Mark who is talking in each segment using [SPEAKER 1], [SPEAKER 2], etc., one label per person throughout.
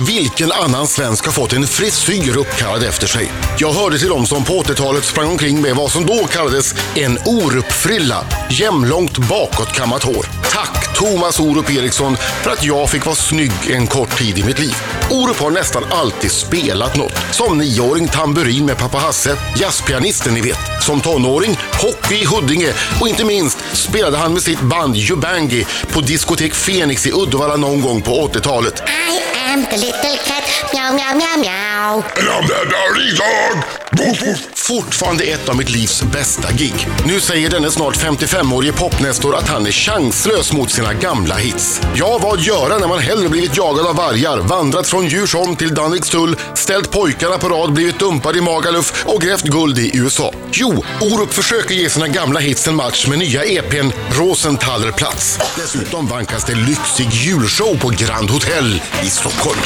[SPEAKER 1] Vilken annan svensk har fått en frisyr uppkallad efter sig? Jag hörde till dem som på 80-talet sprang omkring med vad som då kallades en Orup-frilla. Jämlångt bakåtkammat hår. Tack Thomas Orup Eriksson för att jag fick vara snygg en kort tid i mitt liv. Orup har nästan alltid spelat något. Som nioåring tamburin med pappa Hasse, jazzpianisten ni vet. Som tonåring hockey i Huddinge och inte minst spelade han med sitt band Jubangi på diskotek Fenix i Uddevalla någon gång på 80-talet.
[SPEAKER 2] I am the little cat, meow meow meow meow.
[SPEAKER 3] And I'm the dirty dog! Woof woof!
[SPEAKER 1] Fortfarande ett av mitt livs bästa gig. Nu säger denne snart 55-årige popnestor att han är chanslös mot sina gamla hits. Ja, vad göra när man hellre blivit jagad av vargar, vandrat från Djursholm till Danvikstull, ställt pojkarna på rad, blivit dumpad i Magaluf och grävt guld i USA? Jo, Orup försöker ge sina gamla hits en match med nya EPn Rosenthaler plats. Dessutom vankas det lyxig julshow på Grand Hotel i Stockholm.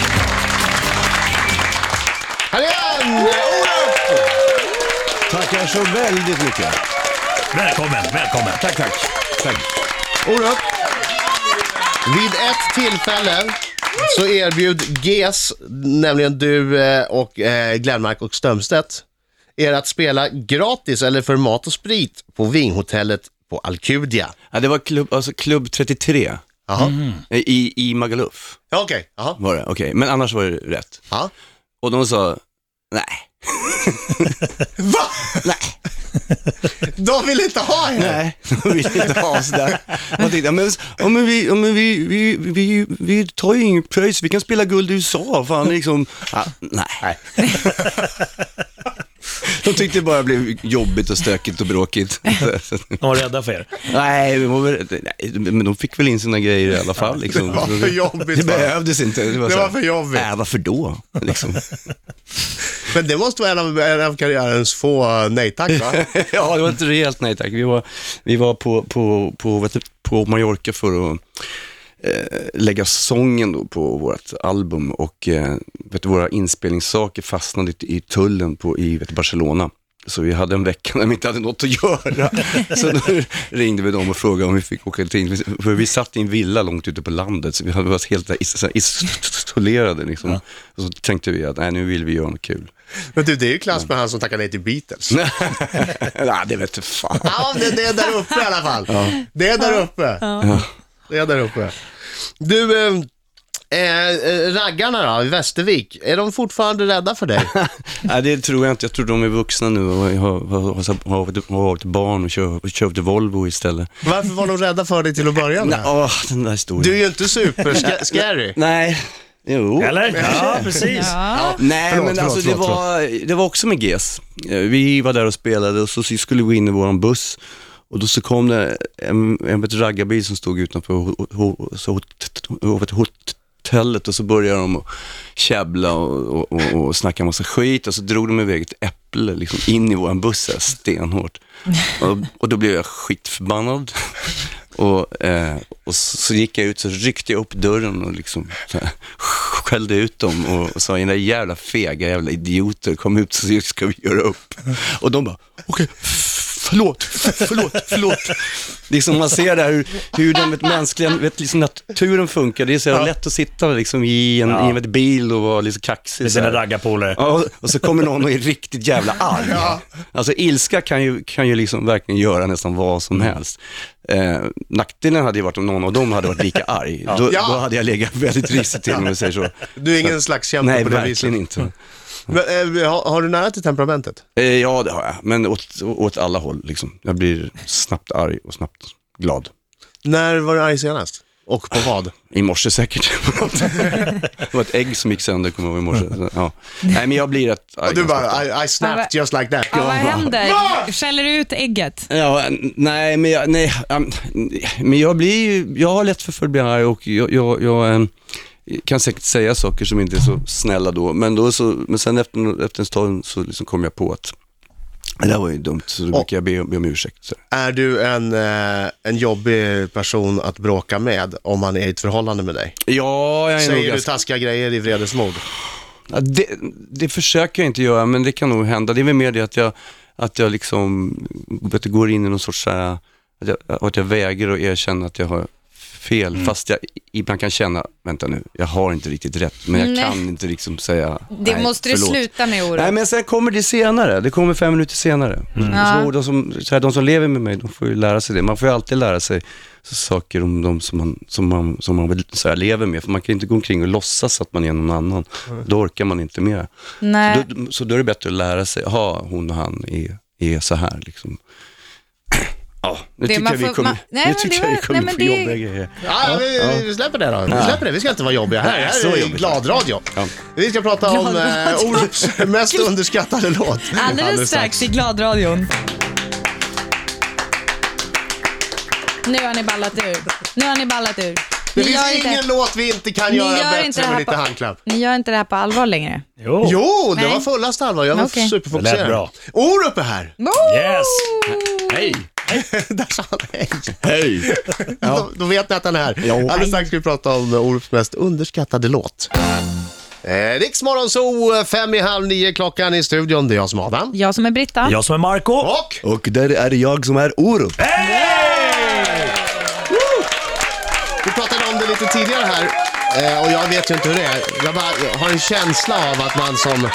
[SPEAKER 4] Här är eh, han! Orup! Tackar så väldigt mycket.
[SPEAKER 5] Välkommen, välkommen.
[SPEAKER 4] Tack, tack. tack. Orup. Vid ett tillfälle så erbjud GES, nämligen du eh, och eh, Glenmark och Strömstedt, er att spela gratis eller för mat och sprit på Vinghotellet på Alcudia.
[SPEAKER 6] Ja, det var klubb, alltså klubb 33
[SPEAKER 4] Jaha,
[SPEAKER 5] Mhm.
[SPEAKER 6] i, i Magaluf
[SPEAKER 4] ja, okej. Jaha.
[SPEAKER 6] var det, okej. Men annars var det rätt.
[SPEAKER 4] Ja.
[SPEAKER 6] Och de sa, nej,
[SPEAKER 4] Va?
[SPEAKER 6] nej,
[SPEAKER 4] De vill inte ha er?
[SPEAKER 6] nej, de vill inte ha oss där. Man tänkte, ja, men, ja, men, vi, ja, men vi, vi, vi, vi tar ju inget pröjs, vi kan spela guld i USA, fan liksom. Ja, nej. De tyckte det bara blev jobbigt och stökigt och bråkigt.
[SPEAKER 5] De var rädda för er.
[SPEAKER 6] Nej, vi var väl, nej, men de fick väl in sina grejer i alla fall. Liksom.
[SPEAKER 4] Det var för jobbigt,
[SPEAKER 6] Det
[SPEAKER 4] va?
[SPEAKER 6] behövdes inte. Det var,
[SPEAKER 4] Det
[SPEAKER 6] så här,
[SPEAKER 4] var för jobbigt.
[SPEAKER 6] Äh, varför då? Liksom.
[SPEAKER 4] Men det måste vara en av, en av karriärens få eh, nej tack va?
[SPEAKER 6] ja, det var ett rejält nej tack. Vi var, vi var på, på, på, vet du, på Mallorca för att eh, lägga sången då på vårt album och eh, vet du, våra inspelningssaker fastnade i, i tullen på, i vet du, Barcelona. Så vi hade en vecka när vi inte hade något att göra. Så då ringde vi dem och frågade om vi fick åka till, för vi satt i en villa långt ute på landet, så vi hade varit helt där is- så här isolerade liksom. Och så tänkte vi att, nej nu vill vi göra något kul.
[SPEAKER 4] Men du, det är ju klass med han som tackar nej till Beatles.
[SPEAKER 6] nej, det vet du fan.
[SPEAKER 4] Ja, det, det är där uppe i alla fall. Det är där uppe. Det är där uppe. Du, eh, eh, raggarna då, i Västervik, är de fortfarande rädda för dig?
[SPEAKER 6] Nej, det tror jag inte. Jag tror de är vuxna nu och har, har, har, har, har varit barn och kör- köpt Volvo istället.
[SPEAKER 4] Varför var de rädda för dig till att börja
[SPEAKER 6] Nej,
[SPEAKER 4] med?
[SPEAKER 6] åh, den där historien.
[SPEAKER 4] Du är ju inte super-scary.
[SPEAKER 6] Nej, jo.
[SPEAKER 5] Eller? Ja, precis.
[SPEAKER 6] Ja, Nej,
[SPEAKER 4] Förlåt,
[SPEAKER 6] men
[SPEAKER 4] förlåt,
[SPEAKER 6] alltså det,
[SPEAKER 4] förlåt,
[SPEAKER 6] var, det var också med GES. Eh, Vi var där och spelade och så skulle vi gå in i våran buss och då så kom det en, en vet, raggarbil som stod utanför ho, ho, så, hot- vet, hotellet och så började de att käbbla och, och, och, och snacka massa skit och så drog de iväg ett äpple liksom, in i våran buss så här, stenhårt. Och, och då blev jag skitförbannad. Och, eh, och så, så gick jag ut, så ryckte jag upp dörren och liksom så här, skällde ut dem och, och sa, era jävla fega jävla idioter, kom ut så ska vi göra upp. Och de bara, okej, f- förlåt, f- förlåt, förlåt. Liksom man ser där hur, hur den vet, mänskliga, vet, liksom naturen funkar. Det är så jävla lätt att sitta liksom, i en i en vet, bil och vara liksom kaxig.
[SPEAKER 5] Med
[SPEAKER 6] så
[SPEAKER 5] sina
[SPEAKER 6] här.
[SPEAKER 5] raggarpolare.
[SPEAKER 6] Ja, och- och så kommer någon och är riktigt jävla arg. Alltså ilska kan ju, kan ju liksom verkligen göra nästan vad som
[SPEAKER 4] Mm.
[SPEAKER 6] helst. Eh, nackdelen hade ju varit om någon av dem hade varit lika arg. Då,
[SPEAKER 4] Ja.
[SPEAKER 6] då hade jag legat väldigt risigt till om jag säger så.
[SPEAKER 4] Du är ingen slags kämpe
[SPEAKER 6] Nej,
[SPEAKER 4] på det viset.
[SPEAKER 6] verkligen inte.
[SPEAKER 4] Men, eh, har, har du nära till temperamentet?
[SPEAKER 6] Eh, ja, det har jag, men åt, åt alla håll liksom. Jag blir snabbt arg och snabbt glad.
[SPEAKER 4] När var du arg senast? Och på vad?
[SPEAKER 6] I morse säkert. det var ett ägg som gick sönder, kommer jag ihåg, i morse. Så, Ja. Nej, men jag blir rätt arg.
[SPEAKER 4] Och du
[SPEAKER 6] ganska ofta.
[SPEAKER 4] bara, I, I snapped just like that.
[SPEAKER 7] Ja, vad
[SPEAKER 4] Va?
[SPEAKER 7] händer? Skäller du ut ägget?
[SPEAKER 6] Ja, n- nej, men jag, nej, um, men jag blir ju, jag har lätt för att bli arg och jag, jag, jag um, kan säkert säga saker som inte är så snälla då, men, då så, men sen efter, efter en stund så liksom kom jag på att det där var ju dumt, så då brukar jag be, be om ursäkt. Så.
[SPEAKER 4] Är du en, eh, en jobbig person att bråka med om man är i ett förhållande med dig?
[SPEAKER 6] Ja, jag är nog
[SPEAKER 4] Säger du
[SPEAKER 6] ganska,
[SPEAKER 4] taskiga grejer i vredesmod?
[SPEAKER 6] ja, det, det försöker jag inte göra, men det kan nog hända. Det är väl mer det att jag, att jag liksom, vet du, går in i någon sorts så här, att jag, att jag vägrar att erkänna att jag har fel,
[SPEAKER 7] Mm.
[SPEAKER 6] fast jag ibland kan känna, vänta nu, jag har inte riktigt rätt, men jag
[SPEAKER 7] Nej.
[SPEAKER 6] kan inte liksom säga,
[SPEAKER 7] Det måste du sluta med, Orup.
[SPEAKER 6] Nej, men sen kommer det senare, det kommer fem minuter senare. Mm.
[SPEAKER 7] Ja.
[SPEAKER 6] Så de, som, så här, de som lever med mig, de får ju lära sig det. Man får ju alltid lära sig saker om de som man, som man, som man vill- så här, lever med, för man kan ju inte gå omkring och låtsas att man är någon annan. Då orkar man inte mer.
[SPEAKER 7] Nej.
[SPEAKER 6] Så, då, så då är det bättre att lära sig, ha hon och han är, är så här liksom. Ja, nu
[SPEAKER 7] Det
[SPEAKER 6] tycker
[SPEAKER 7] man
[SPEAKER 6] jag vi
[SPEAKER 7] får-
[SPEAKER 6] kommer,
[SPEAKER 7] man- nej,
[SPEAKER 6] nu
[SPEAKER 7] men
[SPEAKER 6] tycker
[SPEAKER 7] det
[SPEAKER 6] jag vi
[SPEAKER 7] var-
[SPEAKER 6] kommer
[SPEAKER 7] nej, men
[SPEAKER 6] på
[SPEAKER 7] det-
[SPEAKER 6] jobbiga grejer.
[SPEAKER 4] Ja, vi, vi släpper det då. Vi släpper det. Vi ska inte vara jobbiga här. Det
[SPEAKER 6] så
[SPEAKER 4] här är
[SPEAKER 6] jobbigt.
[SPEAKER 4] glad radio.
[SPEAKER 6] Ja.
[SPEAKER 4] Vi ska prata om eh, Orups mest underskattade låt.
[SPEAKER 7] Alldeles strax i Gladradion. Nu har ni ballat ur. Nu har ni ballat ur.
[SPEAKER 4] Det
[SPEAKER 7] Ni gör
[SPEAKER 4] finns
[SPEAKER 7] inte-
[SPEAKER 4] ingen låt vi inte kan
[SPEAKER 7] ni
[SPEAKER 4] göra
[SPEAKER 7] gör inte
[SPEAKER 4] bättre
[SPEAKER 7] det
[SPEAKER 4] med
[SPEAKER 7] här
[SPEAKER 4] lite
[SPEAKER 7] på-
[SPEAKER 4] handklapp.
[SPEAKER 7] Ni gör inte det här på allvar längre.
[SPEAKER 4] Oh.
[SPEAKER 5] Jo.
[SPEAKER 4] Jo, det
[SPEAKER 7] Nej.
[SPEAKER 4] var fullaste allvar. Jag var
[SPEAKER 7] Okej.
[SPEAKER 4] superfokuserad.
[SPEAKER 5] Det lät bra.
[SPEAKER 4] Orup är här.
[SPEAKER 5] Yes.
[SPEAKER 6] Hej!
[SPEAKER 4] Där sa han hej.
[SPEAKER 6] Hej!
[SPEAKER 4] Då, då vet ni att han är här.
[SPEAKER 6] Ja.
[SPEAKER 4] Alldeles strax ska vi prata om Orups mest underskattade låt. Eh, Riksmorgon så fem i halv nio klockan i studion. Det är jag som är Adam.
[SPEAKER 7] Jag som är Britta.
[SPEAKER 5] Jag som är Marco.
[SPEAKER 4] Och
[SPEAKER 6] Och där är jag som är Orup.
[SPEAKER 4] Vi pratade om det lite tidigare här eh, och jag vet ju inte hur det är. Jag bara jag har en känsla av att man som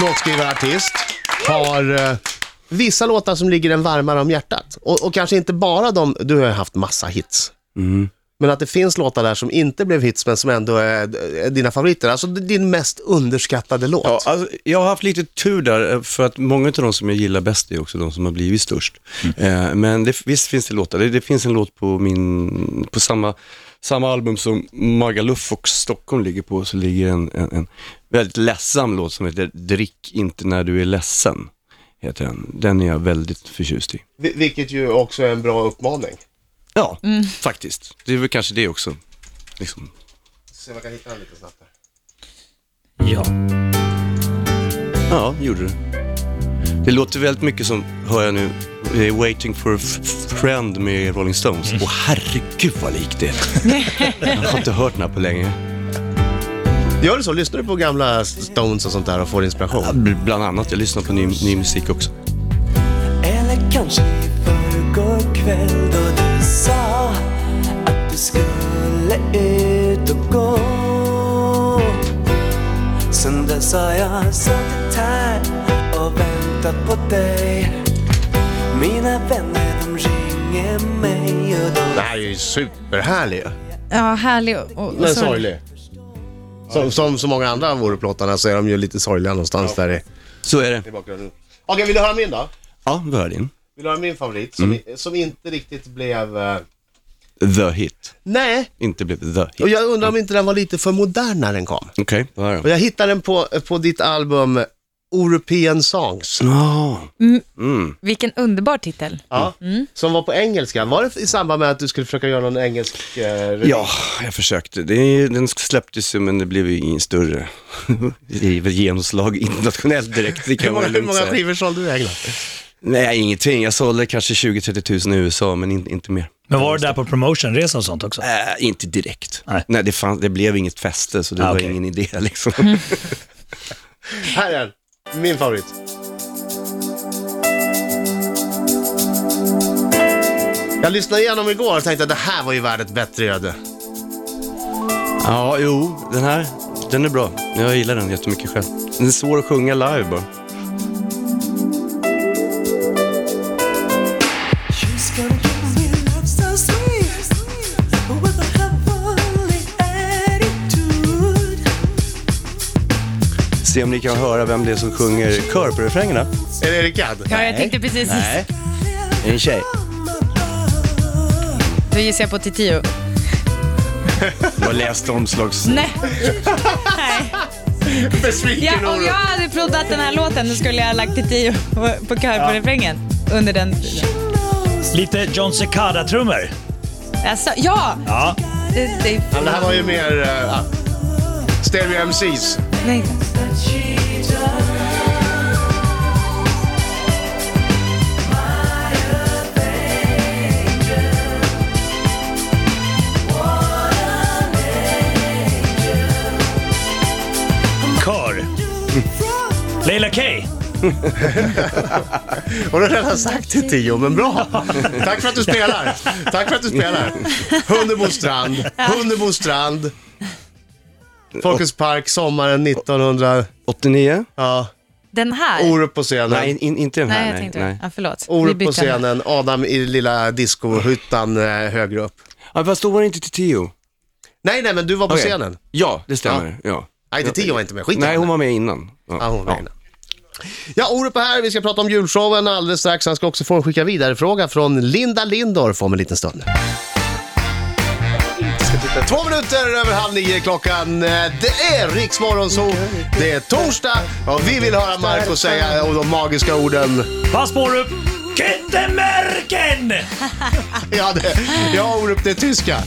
[SPEAKER 4] låtskrivarartist har eh, vissa låtar som ligger en varmare om hjärtat. Och, och kanske inte bara de, du har ju haft massa hits.
[SPEAKER 6] Mm.
[SPEAKER 4] Men att det finns låtar där som inte blev hits men som ändå är, är dina favoriter. Alltså din mest underskattade låt.
[SPEAKER 6] Ja, alltså, jag har haft lite tur där, eh, för att många av de som jag gillar bäst är också de som har blivit störst. Eh, men det, visst finns det låtar. Det, det finns en låt på, min, på samma, samma album som Magaluf och Stockholm ligger på, så ligger en, en, en väldigt ledsam låt som heter Drick inte när du är ledsen. Heter den. den är jag väldigt förtjust i.
[SPEAKER 4] Vil- Vilket ju också är en bra uppmaning.
[SPEAKER 6] Ja, faktiskt. Det är väl kanske det också. Liksom.
[SPEAKER 4] Se om jag kan hitta den lite snabbt här.
[SPEAKER 5] Ja.
[SPEAKER 6] Ja, gjorde det. Det låter väldigt mycket som, hör jag nu, det är Waiting for a f- f- friend med Rolling Stones. Åh herregud vad likt det är. Jag har inte hört den här på länge.
[SPEAKER 4] Gör du så? Lyssnar du på gamla Stones och sånt där och får inspiration?
[SPEAKER 6] Ja, bl- Bland annat, jag lyssnar på ny, ny musik också.
[SPEAKER 8] Eller kanske i förrgår kväll då du sa att du skulle ut och gå Sen dess har jag suttit här och väntat på dig Mina vänner de ringer mig och de
[SPEAKER 4] Den här är ju superhärlig.
[SPEAKER 7] Ja, härlig och, och
[SPEAKER 4] Men
[SPEAKER 7] sorg.
[SPEAKER 4] sorglig. Som, som så många andra av Oruplåtarna så är de ju lite sorgliga någonstans där i,
[SPEAKER 6] Så är det.
[SPEAKER 4] i bakgrunden. Okej, vill du höra min då?
[SPEAKER 6] Ja, vad är din?
[SPEAKER 4] Vill du höra min favorit som, som inte riktigt blev... eh,
[SPEAKER 6] The Hit.
[SPEAKER 4] Nej,
[SPEAKER 6] Inte blev The Hit.
[SPEAKER 4] och jag undrar om inte den var lite för modern när den kom.
[SPEAKER 6] Okej, vad är
[SPEAKER 4] Och
[SPEAKER 6] det?
[SPEAKER 4] jag hittade den på, på ditt album European Songs.
[SPEAKER 6] Ja,
[SPEAKER 7] Vilken underbar titel.
[SPEAKER 4] Ja, Som var på engelska. Var det i samband med att du skulle försöka göra någon engelsk... eh,
[SPEAKER 6] ja, jag försökte. Det, är- den släpptes ju men det blev ju ingen större. Det är väl genomslag internationellt direkt, det
[SPEAKER 4] hur
[SPEAKER 6] kan
[SPEAKER 4] många,
[SPEAKER 6] man
[SPEAKER 4] hur
[SPEAKER 6] lugnt
[SPEAKER 4] många
[SPEAKER 6] säga.
[SPEAKER 4] skivor sålde du i England?
[SPEAKER 6] Nej, ingenting. Jag sålde kanske 20-30 000 i USA, men in, inte mer.
[SPEAKER 5] Men var det där på promotionresa och sånt också?
[SPEAKER 6] Äh, inte direkt.
[SPEAKER 5] Nej.
[SPEAKER 6] Nej, det, fanns, det blev inget fäste, så det
[SPEAKER 5] Ah,
[SPEAKER 6] var
[SPEAKER 5] okej.
[SPEAKER 6] ingen idé liksom.
[SPEAKER 7] Mm.
[SPEAKER 4] Här är den. Min favorit. Jag lyssnade igenom igår och tänkte att det här var ju värt ett bättre öde.
[SPEAKER 6] ja, jo, den här, den är bra. Jag gillar den jättemycket själv. Den är svår att sjunga live bara.
[SPEAKER 8] She's gonna give me love so sweet with a heavenly attitude.
[SPEAKER 6] Se om ni kan höra vem det är som sjunger kör på refrängerna.
[SPEAKER 4] Är det Rickard?
[SPEAKER 7] Ja, jag tänkte precis.
[SPEAKER 6] Nej, det är en tjej.
[SPEAKER 7] Då gissar jag på Titiyo.
[SPEAKER 6] Jag läste omslags...
[SPEAKER 7] Nej. Nej. Ja,
[SPEAKER 4] Besviken
[SPEAKER 7] om jag
[SPEAKER 4] Orup.
[SPEAKER 7] hade provat den här låten då skulle jag ha lagt Titiyo på- på kör på refrängen under den tiden.
[SPEAKER 5] Lite John Cicada-trummor.
[SPEAKER 7] Alltså, ja!
[SPEAKER 5] Ja.
[SPEAKER 7] Det, det,
[SPEAKER 4] Ja, Det här var ju mer... eh, ah, Stereo MCs.
[SPEAKER 7] nej.
[SPEAKER 5] Mm. Kör. Leila K.
[SPEAKER 4] Har du redan sagt till Tio, men bra. Tack för att du spelar. Tack för att du spelar. Hunnebo strand, Hunnebo strand. Folkets park sommaren 1900.
[SPEAKER 6] 89?
[SPEAKER 4] Ja,
[SPEAKER 7] Den här?
[SPEAKER 4] Orup på scenen.
[SPEAKER 6] Nej, in, inte den här.
[SPEAKER 7] nej, jag tänkte
[SPEAKER 6] nej.
[SPEAKER 7] Ja, förlåt. Vi
[SPEAKER 4] Orup
[SPEAKER 7] byter
[SPEAKER 4] på
[SPEAKER 7] här.
[SPEAKER 4] scenen, Adam i lilla discohyttan eh, högre upp.
[SPEAKER 6] Ja, fast då var det inte till Tio.
[SPEAKER 4] Nej, nej, men du var på
[SPEAKER 6] Okej.
[SPEAKER 4] scenen.
[SPEAKER 6] Ja, det stämmer. Ja.
[SPEAKER 4] Nej, inte Tio var inte med. Skit i
[SPEAKER 6] Nej,
[SPEAKER 4] henne.
[SPEAKER 6] hon var med innan.
[SPEAKER 4] Ja, hon var inne. Ja, Orup är här. Vi ska prata om julshowen alldeles strax. Han ska också få en skicka vidare-fråga från Linda Lindorff om en liten stund. Två minuter över halv nio är klockan. Eh, Det är Riksmorgonzoo. Det är torsdag och vi vill höra Marco säga och de magiska orden.
[SPEAKER 5] Pass på Orup! Kittemärken!
[SPEAKER 4] Ja, det, ja Orup, det är tyska.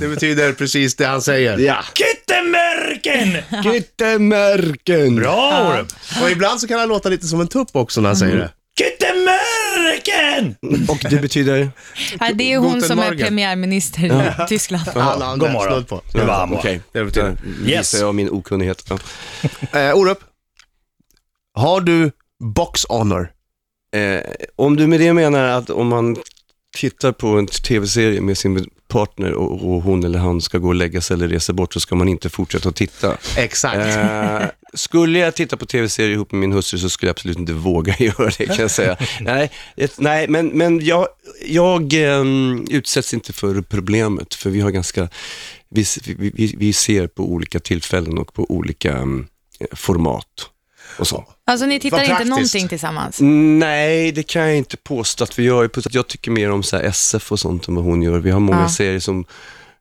[SPEAKER 4] Det betyder precis det han säger.
[SPEAKER 6] Ja.
[SPEAKER 5] Kittemärken!
[SPEAKER 6] Kittemärken!
[SPEAKER 5] Bra Orup!
[SPEAKER 4] Och ibland så kan han låta lite som en tupp också när han säger
[SPEAKER 5] Mm.
[SPEAKER 4] det.
[SPEAKER 5] Kittemärken!
[SPEAKER 6] Och det betyder?
[SPEAKER 7] Ja, det är hon
[SPEAKER 4] Guten
[SPEAKER 7] som är
[SPEAKER 4] Morgen.
[SPEAKER 7] premiärminister i Tyskland.
[SPEAKER 4] Han har en
[SPEAKER 5] God
[SPEAKER 4] snudd
[SPEAKER 5] morgon.
[SPEAKER 4] på.
[SPEAKER 5] Det var han
[SPEAKER 6] Okej,
[SPEAKER 4] Det betyder-
[SPEAKER 6] Där
[SPEAKER 5] Yes.
[SPEAKER 6] visar jag min okunnighet. Ja.
[SPEAKER 4] Eh, Orup, har du box honor?
[SPEAKER 6] Eh, om du med det menar att om man tittar på en tv-serie med sin partner och, och hon eller han ska gå och lägga sig eller resa bort så ska man inte fortsätta att titta.
[SPEAKER 4] Exakt.
[SPEAKER 6] Eh, skulle jag titta på tv-serier ihop med min hustru så skulle jag absolut inte våga göra det kan jag säga. nej, ett, nej, men, men jag, jag ehm, utsätts inte för problemet för vi har ganska, vi, vi, vi- vi ser på olika tillfällen och på olika ehm, format och så.
[SPEAKER 7] Alltså ni tittar
[SPEAKER 4] Vad
[SPEAKER 7] inte
[SPEAKER 4] praktiskt.
[SPEAKER 7] någonting tillsammans?
[SPEAKER 6] Nej, det kan jag inte påstå att vi gör. Jag påstår att Jag tycker mer om så här SF och sånt än vad hon gör. Vi har många
[SPEAKER 7] Ja.
[SPEAKER 6] serier som,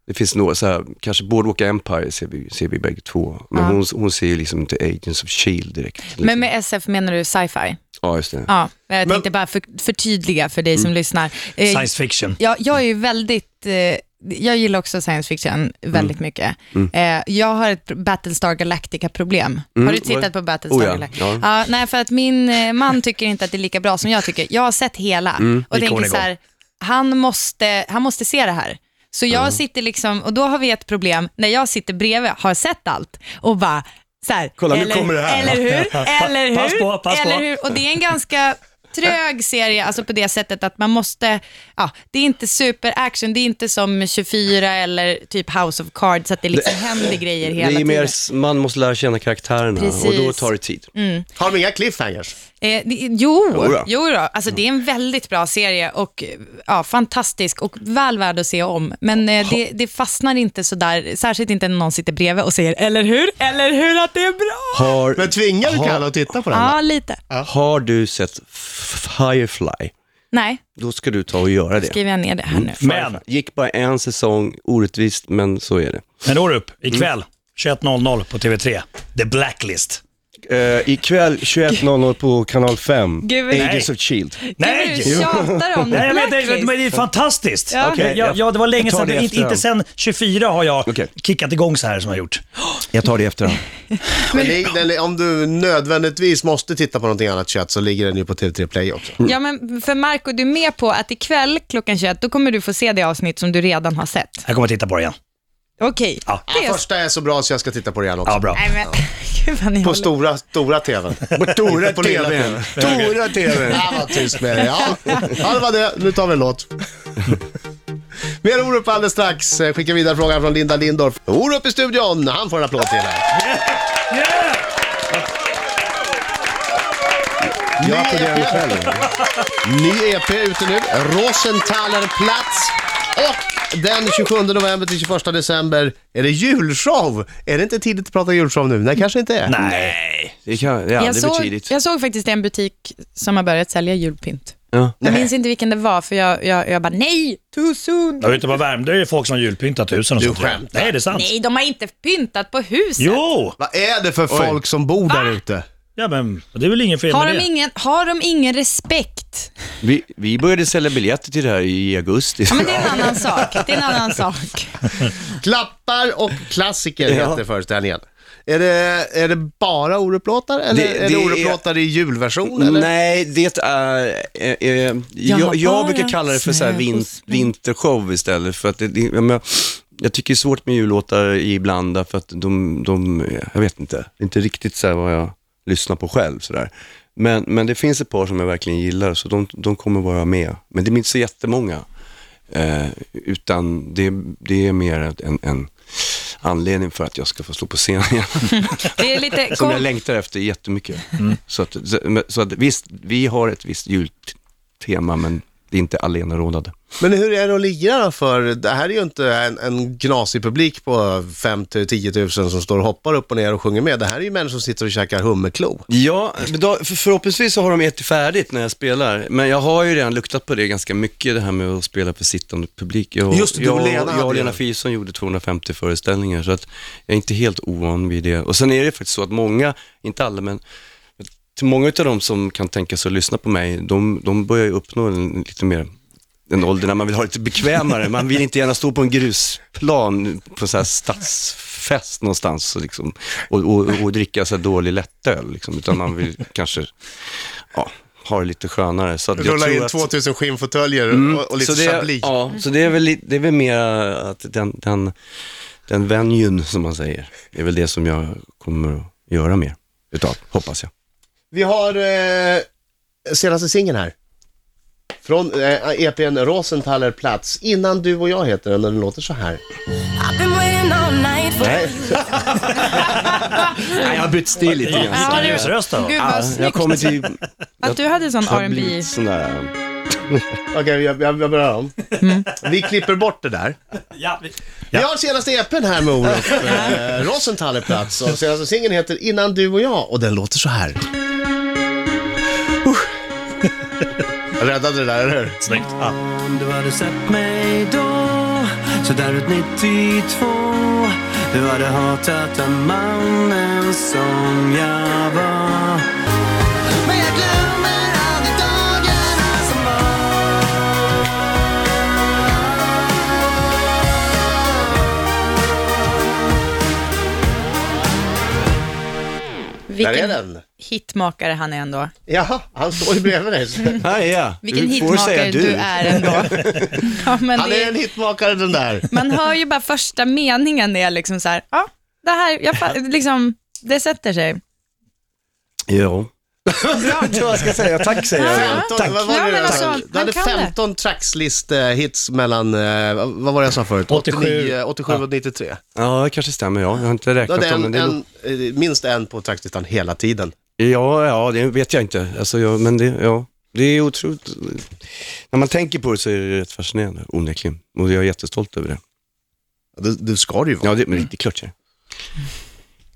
[SPEAKER 6] det finns några, så här, kanske Boardwalk Empire ser vi, ser vi bägge två. Men
[SPEAKER 7] Ja.
[SPEAKER 6] hon, hon ser ju liksom inte Agents of Shield direkt. Liksom.
[SPEAKER 7] Men med SF menar du sci-fi?
[SPEAKER 6] ja, just det.
[SPEAKER 7] Ja, jag tänkte bara för, förtydliga för dig som lyssnar. Eh,
[SPEAKER 5] Science
[SPEAKER 6] Mm.
[SPEAKER 5] fiction.
[SPEAKER 7] jag, jag är ju väldigt, eh, jag gillar också science fiction väldigt
[SPEAKER 6] Mm.
[SPEAKER 7] mycket. Eh, jag har ett Battlestar Galactica-problem.
[SPEAKER 6] Mm,
[SPEAKER 7] Har du tittat
[SPEAKER 6] vad-
[SPEAKER 7] på Battlestar
[SPEAKER 6] Oh ja,
[SPEAKER 7] Galactica?
[SPEAKER 6] ja.
[SPEAKER 7] nej, för att min eh, man tycker inte att det är lika bra som jag tycker. Jag har sett hela
[SPEAKER 6] Mm.
[SPEAKER 7] och
[SPEAKER 5] Gick hon
[SPEAKER 7] tänker så här, han måste, han måste se det här. Så jag sitter liksom, och då har vi ett problem när jag sitter bredvid, har sett allt och bara, så här,
[SPEAKER 6] Kolla, nu
[SPEAKER 7] eller,
[SPEAKER 6] kommer det här.
[SPEAKER 7] Eller hur? Eller hur?
[SPEAKER 5] Pass på, pass på.
[SPEAKER 7] eller hur? Och det är en ganska trög serie, alltså på det sättet att man måste, ja, det är inte superaction, det är inte som 24 eller typ House of Cards, att det liksom händer grejer
[SPEAKER 6] Det
[SPEAKER 7] hela
[SPEAKER 6] är ju
[SPEAKER 7] tiden.
[SPEAKER 6] mer, s- man måste lära känna karaktärerna och då
[SPEAKER 7] Precis. Mm.
[SPEAKER 6] tar det tid.
[SPEAKER 4] Har de inga cliffhangers?
[SPEAKER 7] Eh, det, jo,
[SPEAKER 6] Jodå.
[SPEAKER 7] jo då. Alltså, det är en väldigt bra serie och eh, ja, fantastisk och väl värd att se om. Men eh, det, det fastnar inte så där, särskilt inte när någon sitter bredvid och säger eller hur, eller hur att det är bra.
[SPEAKER 6] Har,
[SPEAKER 4] Men tvingar du Kalle att titta på den?
[SPEAKER 7] Ja, lite.
[SPEAKER 6] har du sett F- Firefly,
[SPEAKER 7] Nej,
[SPEAKER 6] då ska du ta och göra det.
[SPEAKER 7] skriver jag ner det här nu.
[SPEAKER 5] Men,
[SPEAKER 6] Gick bara en säsong, orättvist, men så är det.
[SPEAKER 5] men Orup, ikväll 21.00 på TV3, The Blacklist.
[SPEAKER 6] Uh, ikväll 21.00 på kanal 5,
[SPEAKER 7] Gud, vad-
[SPEAKER 6] Agents
[SPEAKER 5] Nej.
[SPEAKER 6] of Shield.
[SPEAKER 5] Nej!
[SPEAKER 7] Gud, du tjatar om
[SPEAKER 5] Nej, jag vet, det,
[SPEAKER 7] Blacklist.
[SPEAKER 5] men det är fantastiskt.
[SPEAKER 7] Ja. Okej,
[SPEAKER 5] ja,
[SPEAKER 6] jag-
[SPEAKER 5] ja, det var länge
[SPEAKER 6] jag tar
[SPEAKER 5] sedan.
[SPEAKER 6] det
[SPEAKER 5] men Inte,
[SPEAKER 6] efterhand.
[SPEAKER 5] inte sedan 24 har jag
[SPEAKER 6] Okej.
[SPEAKER 5] kickat igång så här som jag har gjort.
[SPEAKER 6] Jag tar det i efterhand.
[SPEAKER 4] Men det, den, om du nödvändigtvis måste titta på någonting annat kött så ligger den ju på TV3 Play också.
[SPEAKER 7] Ja, men för Marco, du är med på att ikväll klockan 21, då kommer du få se det avsnitt som du redan har sett.
[SPEAKER 5] Jag kommer titta på det igen.
[SPEAKER 7] Okej.
[SPEAKER 5] Ja.
[SPEAKER 7] Det är...
[SPEAKER 4] Första är så bra så jag ska titta på det igen också.
[SPEAKER 5] Ja, bra.
[SPEAKER 7] Nej, men, gud vad ni
[SPEAKER 4] På
[SPEAKER 7] håller-
[SPEAKER 4] stora, stora TVn. På
[SPEAKER 6] stora
[SPEAKER 4] lilla TVn.
[SPEAKER 6] TVn.
[SPEAKER 4] Stora TVn. Ja, vad tyst med dig. Ja. ja, det var det. Nu tar vi en låt. Mer Orup alldeles strax. Skicka vidare frågan från Linda Lindorff. Orup i studion. Han får en applåd till. här.
[SPEAKER 5] Yeah!
[SPEAKER 6] Jag applåderar mig själv.
[SPEAKER 4] Ny EP ute nu. Rosenthaler Platz. Och den 27 november till 21 december är det julshow. Är det inte tidigt att prata julshow nu? Nej, kanske inte är.
[SPEAKER 6] Nej, det kan, det är
[SPEAKER 7] jag,
[SPEAKER 6] aldrig för
[SPEAKER 7] såg,
[SPEAKER 6] tidigt.
[SPEAKER 7] jag såg faktiskt en butik som har börjat sälja julpynt.
[SPEAKER 6] Ja.
[SPEAKER 7] Jag minns inte vilken det var, för jag, jag, jag bara nej, too soon.
[SPEAKER 5] Jag vet inte på Värmdö är det folk som har julpyntat husen och
[SPEAKER 4] Du
[SPEAKER 5] sånt. där.
[SPEAKER 4] skämtar.
[SPEAKER 5] Nej, det är sant.
[SPEAKER 7] Nej, de har inte pyntat på huset.
[SPEAKER 5] Jo!
[SPEAKER 4] Vad är det för folk som bor där ute?
[SPEAKER 5] Ja, men det är väl ingen fel
[SPEAKER 7] Har
[SPEAKER 5] med
[SPEAKER 7] de,
[SPEAKER 5] det.
[SPEAKER 7] ingen, har de ingen respekt?
[SPEAKER 6] Vi, vi började sälja biljetter till det här i augusti.
[SPEAKER 7] Ja, men det är en annan sak. Det är en annan sak.
[SPEAKER 4] Klappar och klassiker
[SPEAKER 6] Ja.
[SPEAKER 4] heter föreställningen. Är det, är det bara Orup-låtar eller
[SPEAKER 6] Det-
[SPEAKER 4] är det
[SPEAKER 6] det är-
[SPEAKER 4] Orup-låtar i julversion? Eller?
[SPEAKER 6] Nej, det är... Eh, eh,
[SPEAKER 7] Jag har
[SPEAKER 6] jag, jag brukar
[SPEAKER 7] bara
[SPEAKER 6] kalla det för så här
[SPEAKER 7] snö och
[SPEAKER 6] vin,
[SPEAKER 7] snö.
[SPEAKER 6] vintershow istället. För att det, det, jag, men, jag tycker det är svårt med jullåtar ibland, därför att de, de... Jag vet inte. Det är inte riktigt så här vad jag lyssnar på själv. Så där. Men, men det finns ett par som jag verkligen gillar, så de, de kommer vara med. Men det är inte så jättemånga, eh, utan det, det är mer en, en anledning för att jag ska få stå på scen igen.
[SPEAKER 7] Det är lite,
[SPEAKER 6] Som jag
[SPEAKER 7] kom,
[SPEAKER 6] längtar efter jättemycket. Så, att, så, men- så att visst, vi har ett visst jultema, men det är inte allenarådande.
[SPEAKER 4] Men hur är det att ligga då för, det här är ju inte en, en gnasig publik på 5-10 000 som står och hoppar upp och ner och sjunger med. Det här är ju människor som sitter och käkar hummerklo.
[SPEAKER 6] Ja, men då, för, förhoppningsvis så har de gett det färdigt när jag spelar. Men jag har ju redan luktat på det ganska mycket, det här med att spela för sittande publik. Jag,
[SPEAKER 4] Just det, du och
[SPEAKER 6] jag,
[SPEAKER 4] Lena hade
[SPEAKER 6] jag och
[SPEAKER 4] ju
[SPEAKER 6] Lena
[SPEAKER 4] det.
[SPEAKER 6] Fison gjorde 250 föreställningar, så att jag är inte helt ovan vid det. Och sen är det faktiskt så att många, inte alla, men till många av de som kan tänka sig att lyssna på mig, de, de börjar ju uppnå en, lite mer en ålder när man vill ha det lite bekvämare. Man vill inte gärna stå på en grusplan på en sån här stadsfest någonstans och, liksom, och, och, och dricka så här dålig lättöl, liksom, utan man vill kanske ja, ha det lite skönare. Så att jag
[SPEAKER 4] Rullar
[SPEAKER 6] tror
[SPEAKER 4] in
[SPEAKER 6] att,
[SPEAKER 4] 2000 skinnfåtöljer och, och lite
[SPEAKER 6] så det,
[SPEAKER 4] chablis.
[SPEAKER 6] ja, så det är väl, li- det är väl mer att den, den, den venuen, som man säger, är väl det som jag kommer att göra mer utav, hoppas jag.
[SPEAKER 4] Vi har eh, senaste singeln här. Från eh, EPn Rosenthaler Plats. Innan du och jag heter den, och den låter så här. Nej,
[SPEAKER 6] Nej, jag har bytt stil lite grann.
[SPEAKER 7] Ja, det-
[SPEAKER 5] Seriös röst då?
[SPEAKER 7] gud
[SPEAKER 6] Ja,
[SPEAKER 7] vad
[SPEAKER 6] jag
[SPEAKER 7] snyggt.
[SPEAKER 6] kommer till...
[SPEAKER 7] Att du hade sån
[SPEAKER 6] jag har
[SPEAKER 7] R&B.
[SPEAKER 6] blivit sån där...
[SPEAKER 4] okej, jag, jag, jag börjar om. Vi klipper bort det där.
[SPEAKER 5] Ja, vi-
[SPEAKER 4] Vi har senaste EPn här med Olof eh, Rosenthaler Plats. Och senaste singeln heter Innan du och jag och den låter så här. Uh. Jag räddade det där, eller hur?
[SPEAKER 5] Snyggt. Ja.
[SPEAKER 8] Om du hade sett mig då Så där ut 92 Du hade hatat den mannen som jag var Men jag glömmer aldrig dagarna som var
[SPEAKER 4] Där är
[SPEAKER 7] Vilken
[SPEAKER 4] den.
[SPEAKER 7] hitmakare han är ändå.
[SPEAKER 4] Jaha, han står ju bredvid dig.
[SPEAKER 6] Ah, ja.
[SPEAKER 7] Vilken
[SPEAKER 6] Du får säga
[SPEAKER 7] hitmakare du. är ändå. Ja, men
[SPEAKER 4] Han
[SPEAKER 7] det,
[SPEAKER 4] är en hitmakare den där.
[SPEAKER 7] man hör ju bara första meningen, det är liksom så här, ja, det här, jag, fa- liksom, det sätter sig.
[SPEAKER 6] Ja. jag tror jag ska säga tack, säger jag.
[SPEAKER 7] Ja.
[SPEAKER 4] 15,
[SPEAKER 7] Tack.
[SPEAKER 4] Vad var
[SPEAKER 7] Ja,
[SPEAKER 4] det där?
[SPEAKER 7] men alltså,
[SPEAKER 4] du
[SPEAKER 7] han
[SPEAKER 4] hade
[SPEAKER 7] kan det.
[SPEAKER 4] 15 trackslist-hits mellan, eh, vad var det jag sa förut?
[SPEAKER 5] 87.
[SPEAKER 4] 89, 87 och 93.
[SPEAKER 6] Ja, det kanske stämmer. Ja. Jag har inte
[SPEAKER 4] Du hade
[SPEAKER 6] räknat dem. men
[SPEAKER 4] en,
[SPEAKER 6] det är nog-
[SPEAKER 4] en, eh, minst en på tracklistan hela tiden.
[SPEAKER 6] Ja, ja, det vet jag inte. Alltså, jag, men det, ja. det är otroligt. När man tänker på det så är det rätt fascinerande, onekligen. Och jag är jättestolt över det.
[SPEAKER 4] Du, du ska det ju vara.
[SPEAKER 6] Ja, det, men det är klart jag är.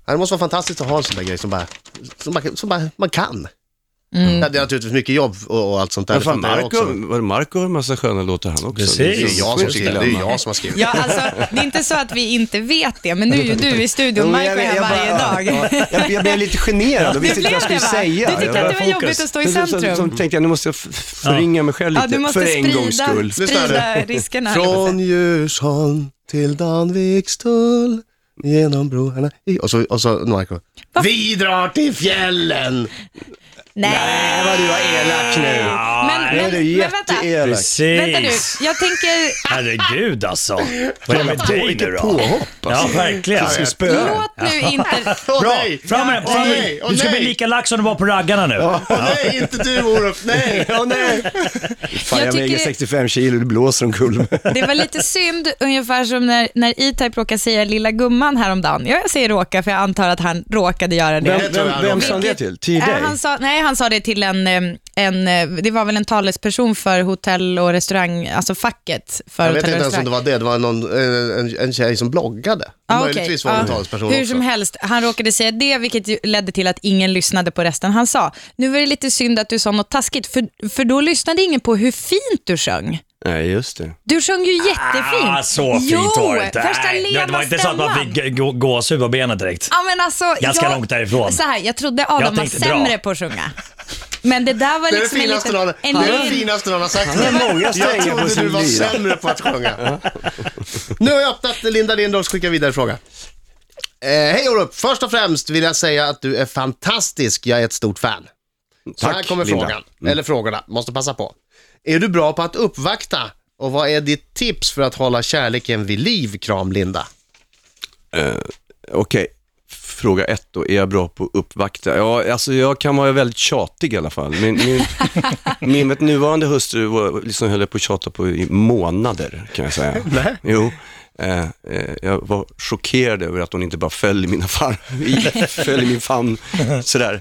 [SPEAKER 4] Det måste vara fantastiskt att ha en sån där grej som bara, som bara, som bara man kan. Ja, det är naturligtvis mycket jobb och, och allt sånt där.
[SPEAKER 6] Men
[SPEAKER 4] Det
[SPEAKER 6] fan,
[SPEAKER 4] fattar jag också.
[SPEAKER 6] Marco, var det Marco har en massa sköna låtar han också.
[SPEAKER 5] Precis.
[SPEAKER 6] Det är
[SPEAKER 4] Det är ju jag som
[SPEAKER 6] skit
[SPEAKER 4] skriver, det är ju jag som har skrivit.
[SPEAKER 7] Ja, alltså, det är inte så att vi inte vet det, men nu är ju du i studion,
[SPEAKER 6] Jo,
[SPEAKER 7] Marko är
[SPEAKER 6] jag-
[SPEAKER 7] här
[SPEAKER 6] jag
[SPEAKER 7] varje
[SPEAKER 6] bara-
[SPEAKER 7] dag.
[SPEAKER 6] ja, Jag, jag blev lite generad och
[SPEAKER 7] Du
[SPEAKER 6] visste inte vad jag skulle
[SPEAKER 7] blev det, va?
[SPEAKER 6] säga.
[SPEAKER 7] Du
[SPEAKER 6] Jag
[SPEAKER 7] tyckte
[SPEAKER 6] bara-
[SPEAKER 7] att det var
[SPEAKER 5] fokus.
[SPEAKER 7] jobbigt att stå i
[SPEAKER 6] Så- så- Så,
[SPEAKER 7] centrum.
[SPEAKER 6] så tänkte jag, nu måste jag f- förringa mig själv
[SPEAKER 7] Ja,
[SPEAKER 6] lite,
[SPEAKER 7] du måste
[SPEAKER 6] för en gångs
[SPEAKER 7] sprida,
[SPEAKER 6] skull.
[SPEAKER 4] Lyssna nu.
[SPEAKER 7] sprida riskerna.
[SPEAKER 4] Från Djursholm till Danvikstull, genom broarna i... Och så, och så Marco. Vi drar till fjällen!
[SPEAKER 7] Nej,
[SPEAKER 6] vad du var elak nu.
[SPEAKER 7] men,
[SPEAKER 5] nej,
[SPEAKER 7] men,
[SPEAKER 6] Det är
[SPEAKER 7] men vänta.
[SPEAKER 6] jätteelak.
[SPEAKER 7] Vänta nu,
[SPEAKER 5] Precis.
[SPEAKER 7] jag tänker,
[SPEAKER 5] Herregud alltså. Vad är det med dig nu då?
[SPEAKER 6] alltså.
[SPEAKER 5] Ja, verkligen.
[SPEAKER 7] låt nu inte...
[SPEAKER 4] Åh nej!
[SPEAKER 5] Fram med
[SPEAKER 4] Åh
[SPEAKER 5] fram
[SPEAKER 4] nej!
[SPEAKER 5] med.
[SPEAKER 4] Åh
[SPEAKER 5] Du ska bli
[SPEAKER 4] nej!
[SPEAKER 5] lika lax som du var på raggarna nu.
[SPEAKER 4] Åh nej! Inte du Olof, nej!
[SPEAKER 6] Ja, nej. Fan, jag,
[SPEAKER 7] Jag
[SPEAKER 6] väger
[SPEAKER 7] tycker-
[SPEAKER 6] 65 kilo, det blåser omkull
[SPEAKER 7] Det var lite synd, ungefär som när, när E-Type råkade säga lilla gumman häromdagen. Ja, jag säger råka för jag antar att han råkade göra det.
[SPEAKER 4] tror jag nog.
[SPEAKER 6] sa det till? Till
[SPEAKER 7] Äh, han sa, nej, han sa det till en, eh, en, eh, det var väl en talesperson för hotell och restaurang, alltså facket för
[SPEAKER 4] Jag vet
[SPEAKER 7] hotell
[SPEAKER 4] inte
[SPEAKER 7] och
[SPEAKER 4] ens om
[SPEAKER 7] restaurang.
[SPEAKER 4] det var det, det var någon, eh, en, en tjej som bloggade.
[SPEAKER 7] Ja, Ah, okej.
[SPEAKER 4] Möjligtvis var det en
[SPEAKER 7] Ja.
[SPEAKER 4] talesperson
[SPEAKER 7] Hur
[SPEAKER 4] också.
[SPEAKER 7] som helst, han råkade säga det, vilket ju ledde till att ingen lyssnade på resten han sa. Nu var det lite synd att du sa något taskigt, för, för då lyssnade ingen på hur fint du sjöng.
[SPEAKER 6] Nej, just det.
[SPEAKER 7] Du sjöng ju jättefint.
[SPEAKER 5] Ah, så fint
[SPEAKER 7] jo,
[SPEAKER 5] var det inte.
[SPEAKER 7] Första
[SPEAKER 5] Nej,
[SPEAKER 7] lena
[SPEAKER 5] Det var inte så att man
[SPEAKER 7] stämman.
[SPEAKER 5] fick g- gå- gåshud på benet direkt.
[SPEAKER 7] Ja, men alltså,
[SPEAKER 5] Ganska
[SPEAKER 7] jag,
[SPEAKER 5] långt därifrån.
[SPEAKER 7] Så här, jag trodde Adam
[SPEAKER 5] Jag
[SPEAKER 7] var
[SPEAKER 5] tänkte dra.
[SPEAKER 7] sämre på att sjunga. Men det där var
[SPEAKER 4] Det är det
[SPEAKER 7] liksom en
[SPEAKER 4] finaste
[SPEAKER 7] liten...
[SPEAKER 4] någon,
[SPEAKER 7] en
[SPEAKER 4] det är det
[SPEAKER 7] liten-
[SPEAKER 4] finaste någon har sagt.
[SPEAKER 6] Han har många
[SPEAKER 4] Jag
[SPEAKER 6] strängar på
[SPEAKER 4] trodde
[SPEAKER 6] sin
[SPEAKER 4] du var
[SPEAKER 6] lyra.
[SPEAKER 4] sämre på att sjunga. Nu har jag öppnat Linda Lindorffs skicka vidare fråga. Eh, Hej Orup, först och främst vill jag säga att du är fantastisk, jag är ett stort fan. Så här
[SPEAKER 6] Tack,
[SPEAKER 4] kommer
[SPEAKER 6] Linda. Mm.
[SPEAKER 4] frågan, eller frågorna, måste passa på. Är du bra på att uppvakta och vad är ditt tips för att hålla kärleken vid liv, kram Linda?
[SPEAKER 6] Okej, fråga ett då, är jag bra på att uppvakta? Ja, alltså jag kan vara väldigt tjatig i alla fall. Min, min, min vet, nuvarande hustru var, liksom höll jag på att tjata på i månader, kan jag säga.
[SPEAKER 4] Nej.
[SPEAKER 6] Jo. Eh, eh, jag var chockerad över att hon inte bara föll i mina far, i, föll i min famn sådär.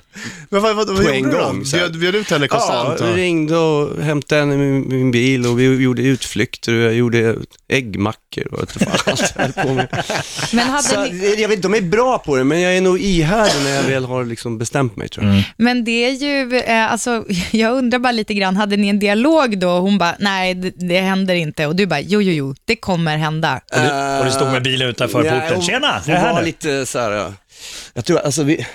[SPEAKER 4] Men vad, vad, vad
[SPEAKER 6] På
[SPEAKER 4] gjorde
[SPEAKER 6] en
[SPEAKER 4] du då?
[SPEAKER 6] gång, så här.
[SPEAKER 4] Bjöd, bjöd ut henne
[SPEAKER 6] Ja,
[SPEAKER 4] konstant?
[SPEAKER 6] jag
[SPEAKER 4] och-
[SPEAKER 6] ringde och hämtade henne i min, min bil och vi gjorde utflykter och jag gjorde äggmackor och vad fan allt jag höll på med.
[SPEAKER 7] Men hade
[SPEAKER 6] Så,
[SPEAKER 7] ni,
[SPEAKER 6] jag vet, de är bra på det, men jag är nog ihärdig när jag väl har liksom bestämt mig tror jag.
[SPEAKER 7] Men det är ju, eh, alltså, jag undrar bara lite grann, hade ni en dialog då? Hon bara, nej det, det händer inte. Och du bara, jo jo jo, det kommer hända.
[SPEAKER 5] Och du, Mm. och du stod med bilen utanför
[SPEAKER 6] Nej,
[SPEAKER 5] porten.
[SPEAKER 6] hon-
[SPEAKER 5] Tjena, jag
[SPEAKER 6] Eh, Hon var
[SPEAKER 5] är här nu.
[SPEAKER 6] lite så här, ja. jag tror, alltså vi,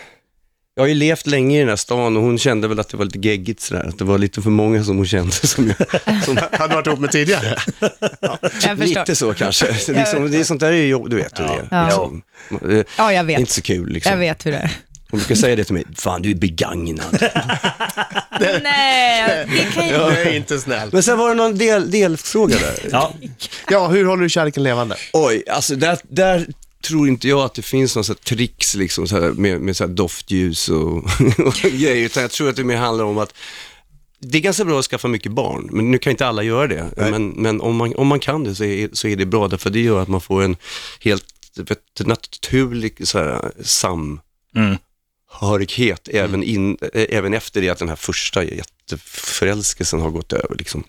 [SPEAKER 6] jag har ju levt länge i den här stan och hon kände väl att det var lite geggigt sådär, att det var lite för många som hon kände som jag, som,
[SPEAKER 4] Hade du varit ihop med tidigare?
[SPEAKER 7] Jag förstår.
[SPEAKER 6] lite så kanske. Liksom, det är sånt där är ju jobb, du vet hur det
[SPEAKER 7] Ja.
[SPEAKER 6] är. Liksom. Det
[SPEAKER 7] Ja,
[SPEAKER 6] är
[SPEAKER 7] jag
[SPEAKER 6] inte
[SPEAKER 7] vet.
[SPEAKER 6] så kul liksom.
[SPEAKER 7] Jag vet hur det är.
[SPEAKER 6] Hon brukar säga det till mig, fan du är begagnad.
[SPEAKER 7] Nej, det kan ju...
[SPEAKER 4] Det är inte snällt.
[SPEAKER 6] Men sen var det någon del, delfråga där.
[SPEAKER 5] Ja,
[SPEAKER 4] Ja, hur håller du kärleken levande?
[SPEAKER 6] Oj, alltså där, där tror inte jag att det finns någon sån här tricks liksom, så här, med, med så här doftljus och, och grejer, utan jag tror att det mer handlar om att det är ganska bra att skaffa mycket barn, men nu kan inte alla göra det. Men, men om, man, om man kan det så är, så är det bra, därför det gör att man får en helt vet, naturlig så här,
[SPEAKER 5] Mm.
[SPEAKER 6] samhörighet även, in, eh, även efter det att den här första jätteförälskelsen har gått över. Liksom.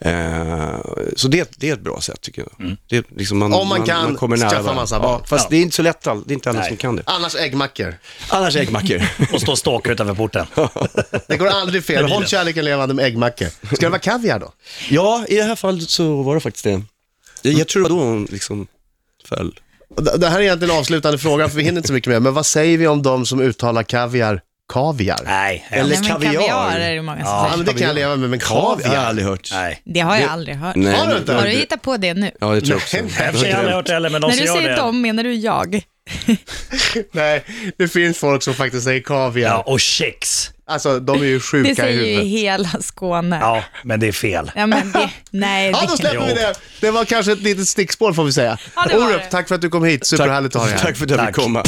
[SPEAKER 6] Eh, så det, det är ett bra sätt tycker jag. Det, är liksom man,
[SPEAKER 4] Om man kan skaffa
[SPEAKER 6] varandra.
[SPEAKER 4] massa barn.
[SPEAKER 6] Ja, fast
[SPEAKER 5] Mm. Ja.
[SPEAKER 6] det är inte så lätt, all, det är inte alla
[SPEAKER 5] Nej.
[SPEAKER 6] som kan det.
[SPEAKER 4] Annars äggmackor.
[SPEAKER 6] Annars äggmackor.
[SPEAKER 5] och stå och stalka utanför porten.
[SPEAKER 4] Det går aldrig fel. Håll kärleken levande med äggmackor. Ska det vara kaviar då?
[SPEAKER 6] ja, i det här fallet så var det faktiskt det. Jag, jag tror då hon liksom föll.
[SPEAKER 4] Och Det det här är egentligen avslutande frågan, för vi hinner inte så mycket mer. Men vad säger vi om de som uttalar kaviar kaviar?
[SPEAKER 5] Nej,
[SPEAKER 6] Eller-
[SPEAKER 5] eller...
[SPEAKER 7] Nej, men
[SPEAKER 6] kaviar.
[SPEAKER 7] kaviar är det många som
[SPEAKER 4] Ja,
[SPEAKER 7] säger.
[SPEAKER 4] men det kan jag leva med, men
[SPEAKER 6] Kaviar har jag
[SPEAKER 4] kaviar?
[SPEAKER 6] aldrig hört.
[SPEAKER 5] Nej.
[SPEAKER 7] Det har jag aldrig hört.
[SPEAKER 6] Nej,
[SPEAKER 4] Har du
[SPEAKER 6] men-
[SPEAKER 4] inte?
[SPEAKER 7] Har du hittat på det nu?
[SPEAKER 6] Ja, det tror jag också.
[SPEAKER 5] Jag har i och för sig aldrig hört det heller, men de
[SPEAKER 7] När
[SPEAKER 5] som
[SPEAKER 7] du
[SPEAKER 5] gör
[SPEAKER 7] säger
[SPEAKER 5] det.
[SPEAKER 7] dem menar du jag.
[SPEAKER 4] Nej, det finns folk som faktiskt säger kaviar.
[SPEAKER 5] Ja, och kex.
[SPEAKER 4] Alltså, de är ju
[SPEAKER 7] Det
[SPEAKER 4] sjuka i
[SPEAKER 7] säger ju
[SPEAKER 4] huvudet.
[SPEAKER 7] hela Skåne. Ja.
[SPEAKER 5] Ja, men det är fel.
[SPEAKER 7] men det, nej,
[SPEAKER 4] Ja, då
[SPEAKER 7] det kan...
[SPEAKER 4] släpper vi det. Det var kanske ett litet stickspår får vi säga.
[SPEAKER 7] Ja, det var
[SPEAKER 4] Orup,
[SPEAKER 7] det.
[SPEAKER 4] tack för att du kom hit. Superhärligt att ha dig här.
[SPEAKER 6] Tack för att jag fick
[SPEAKER 5] Tack.
[SPEAKER 6] komma.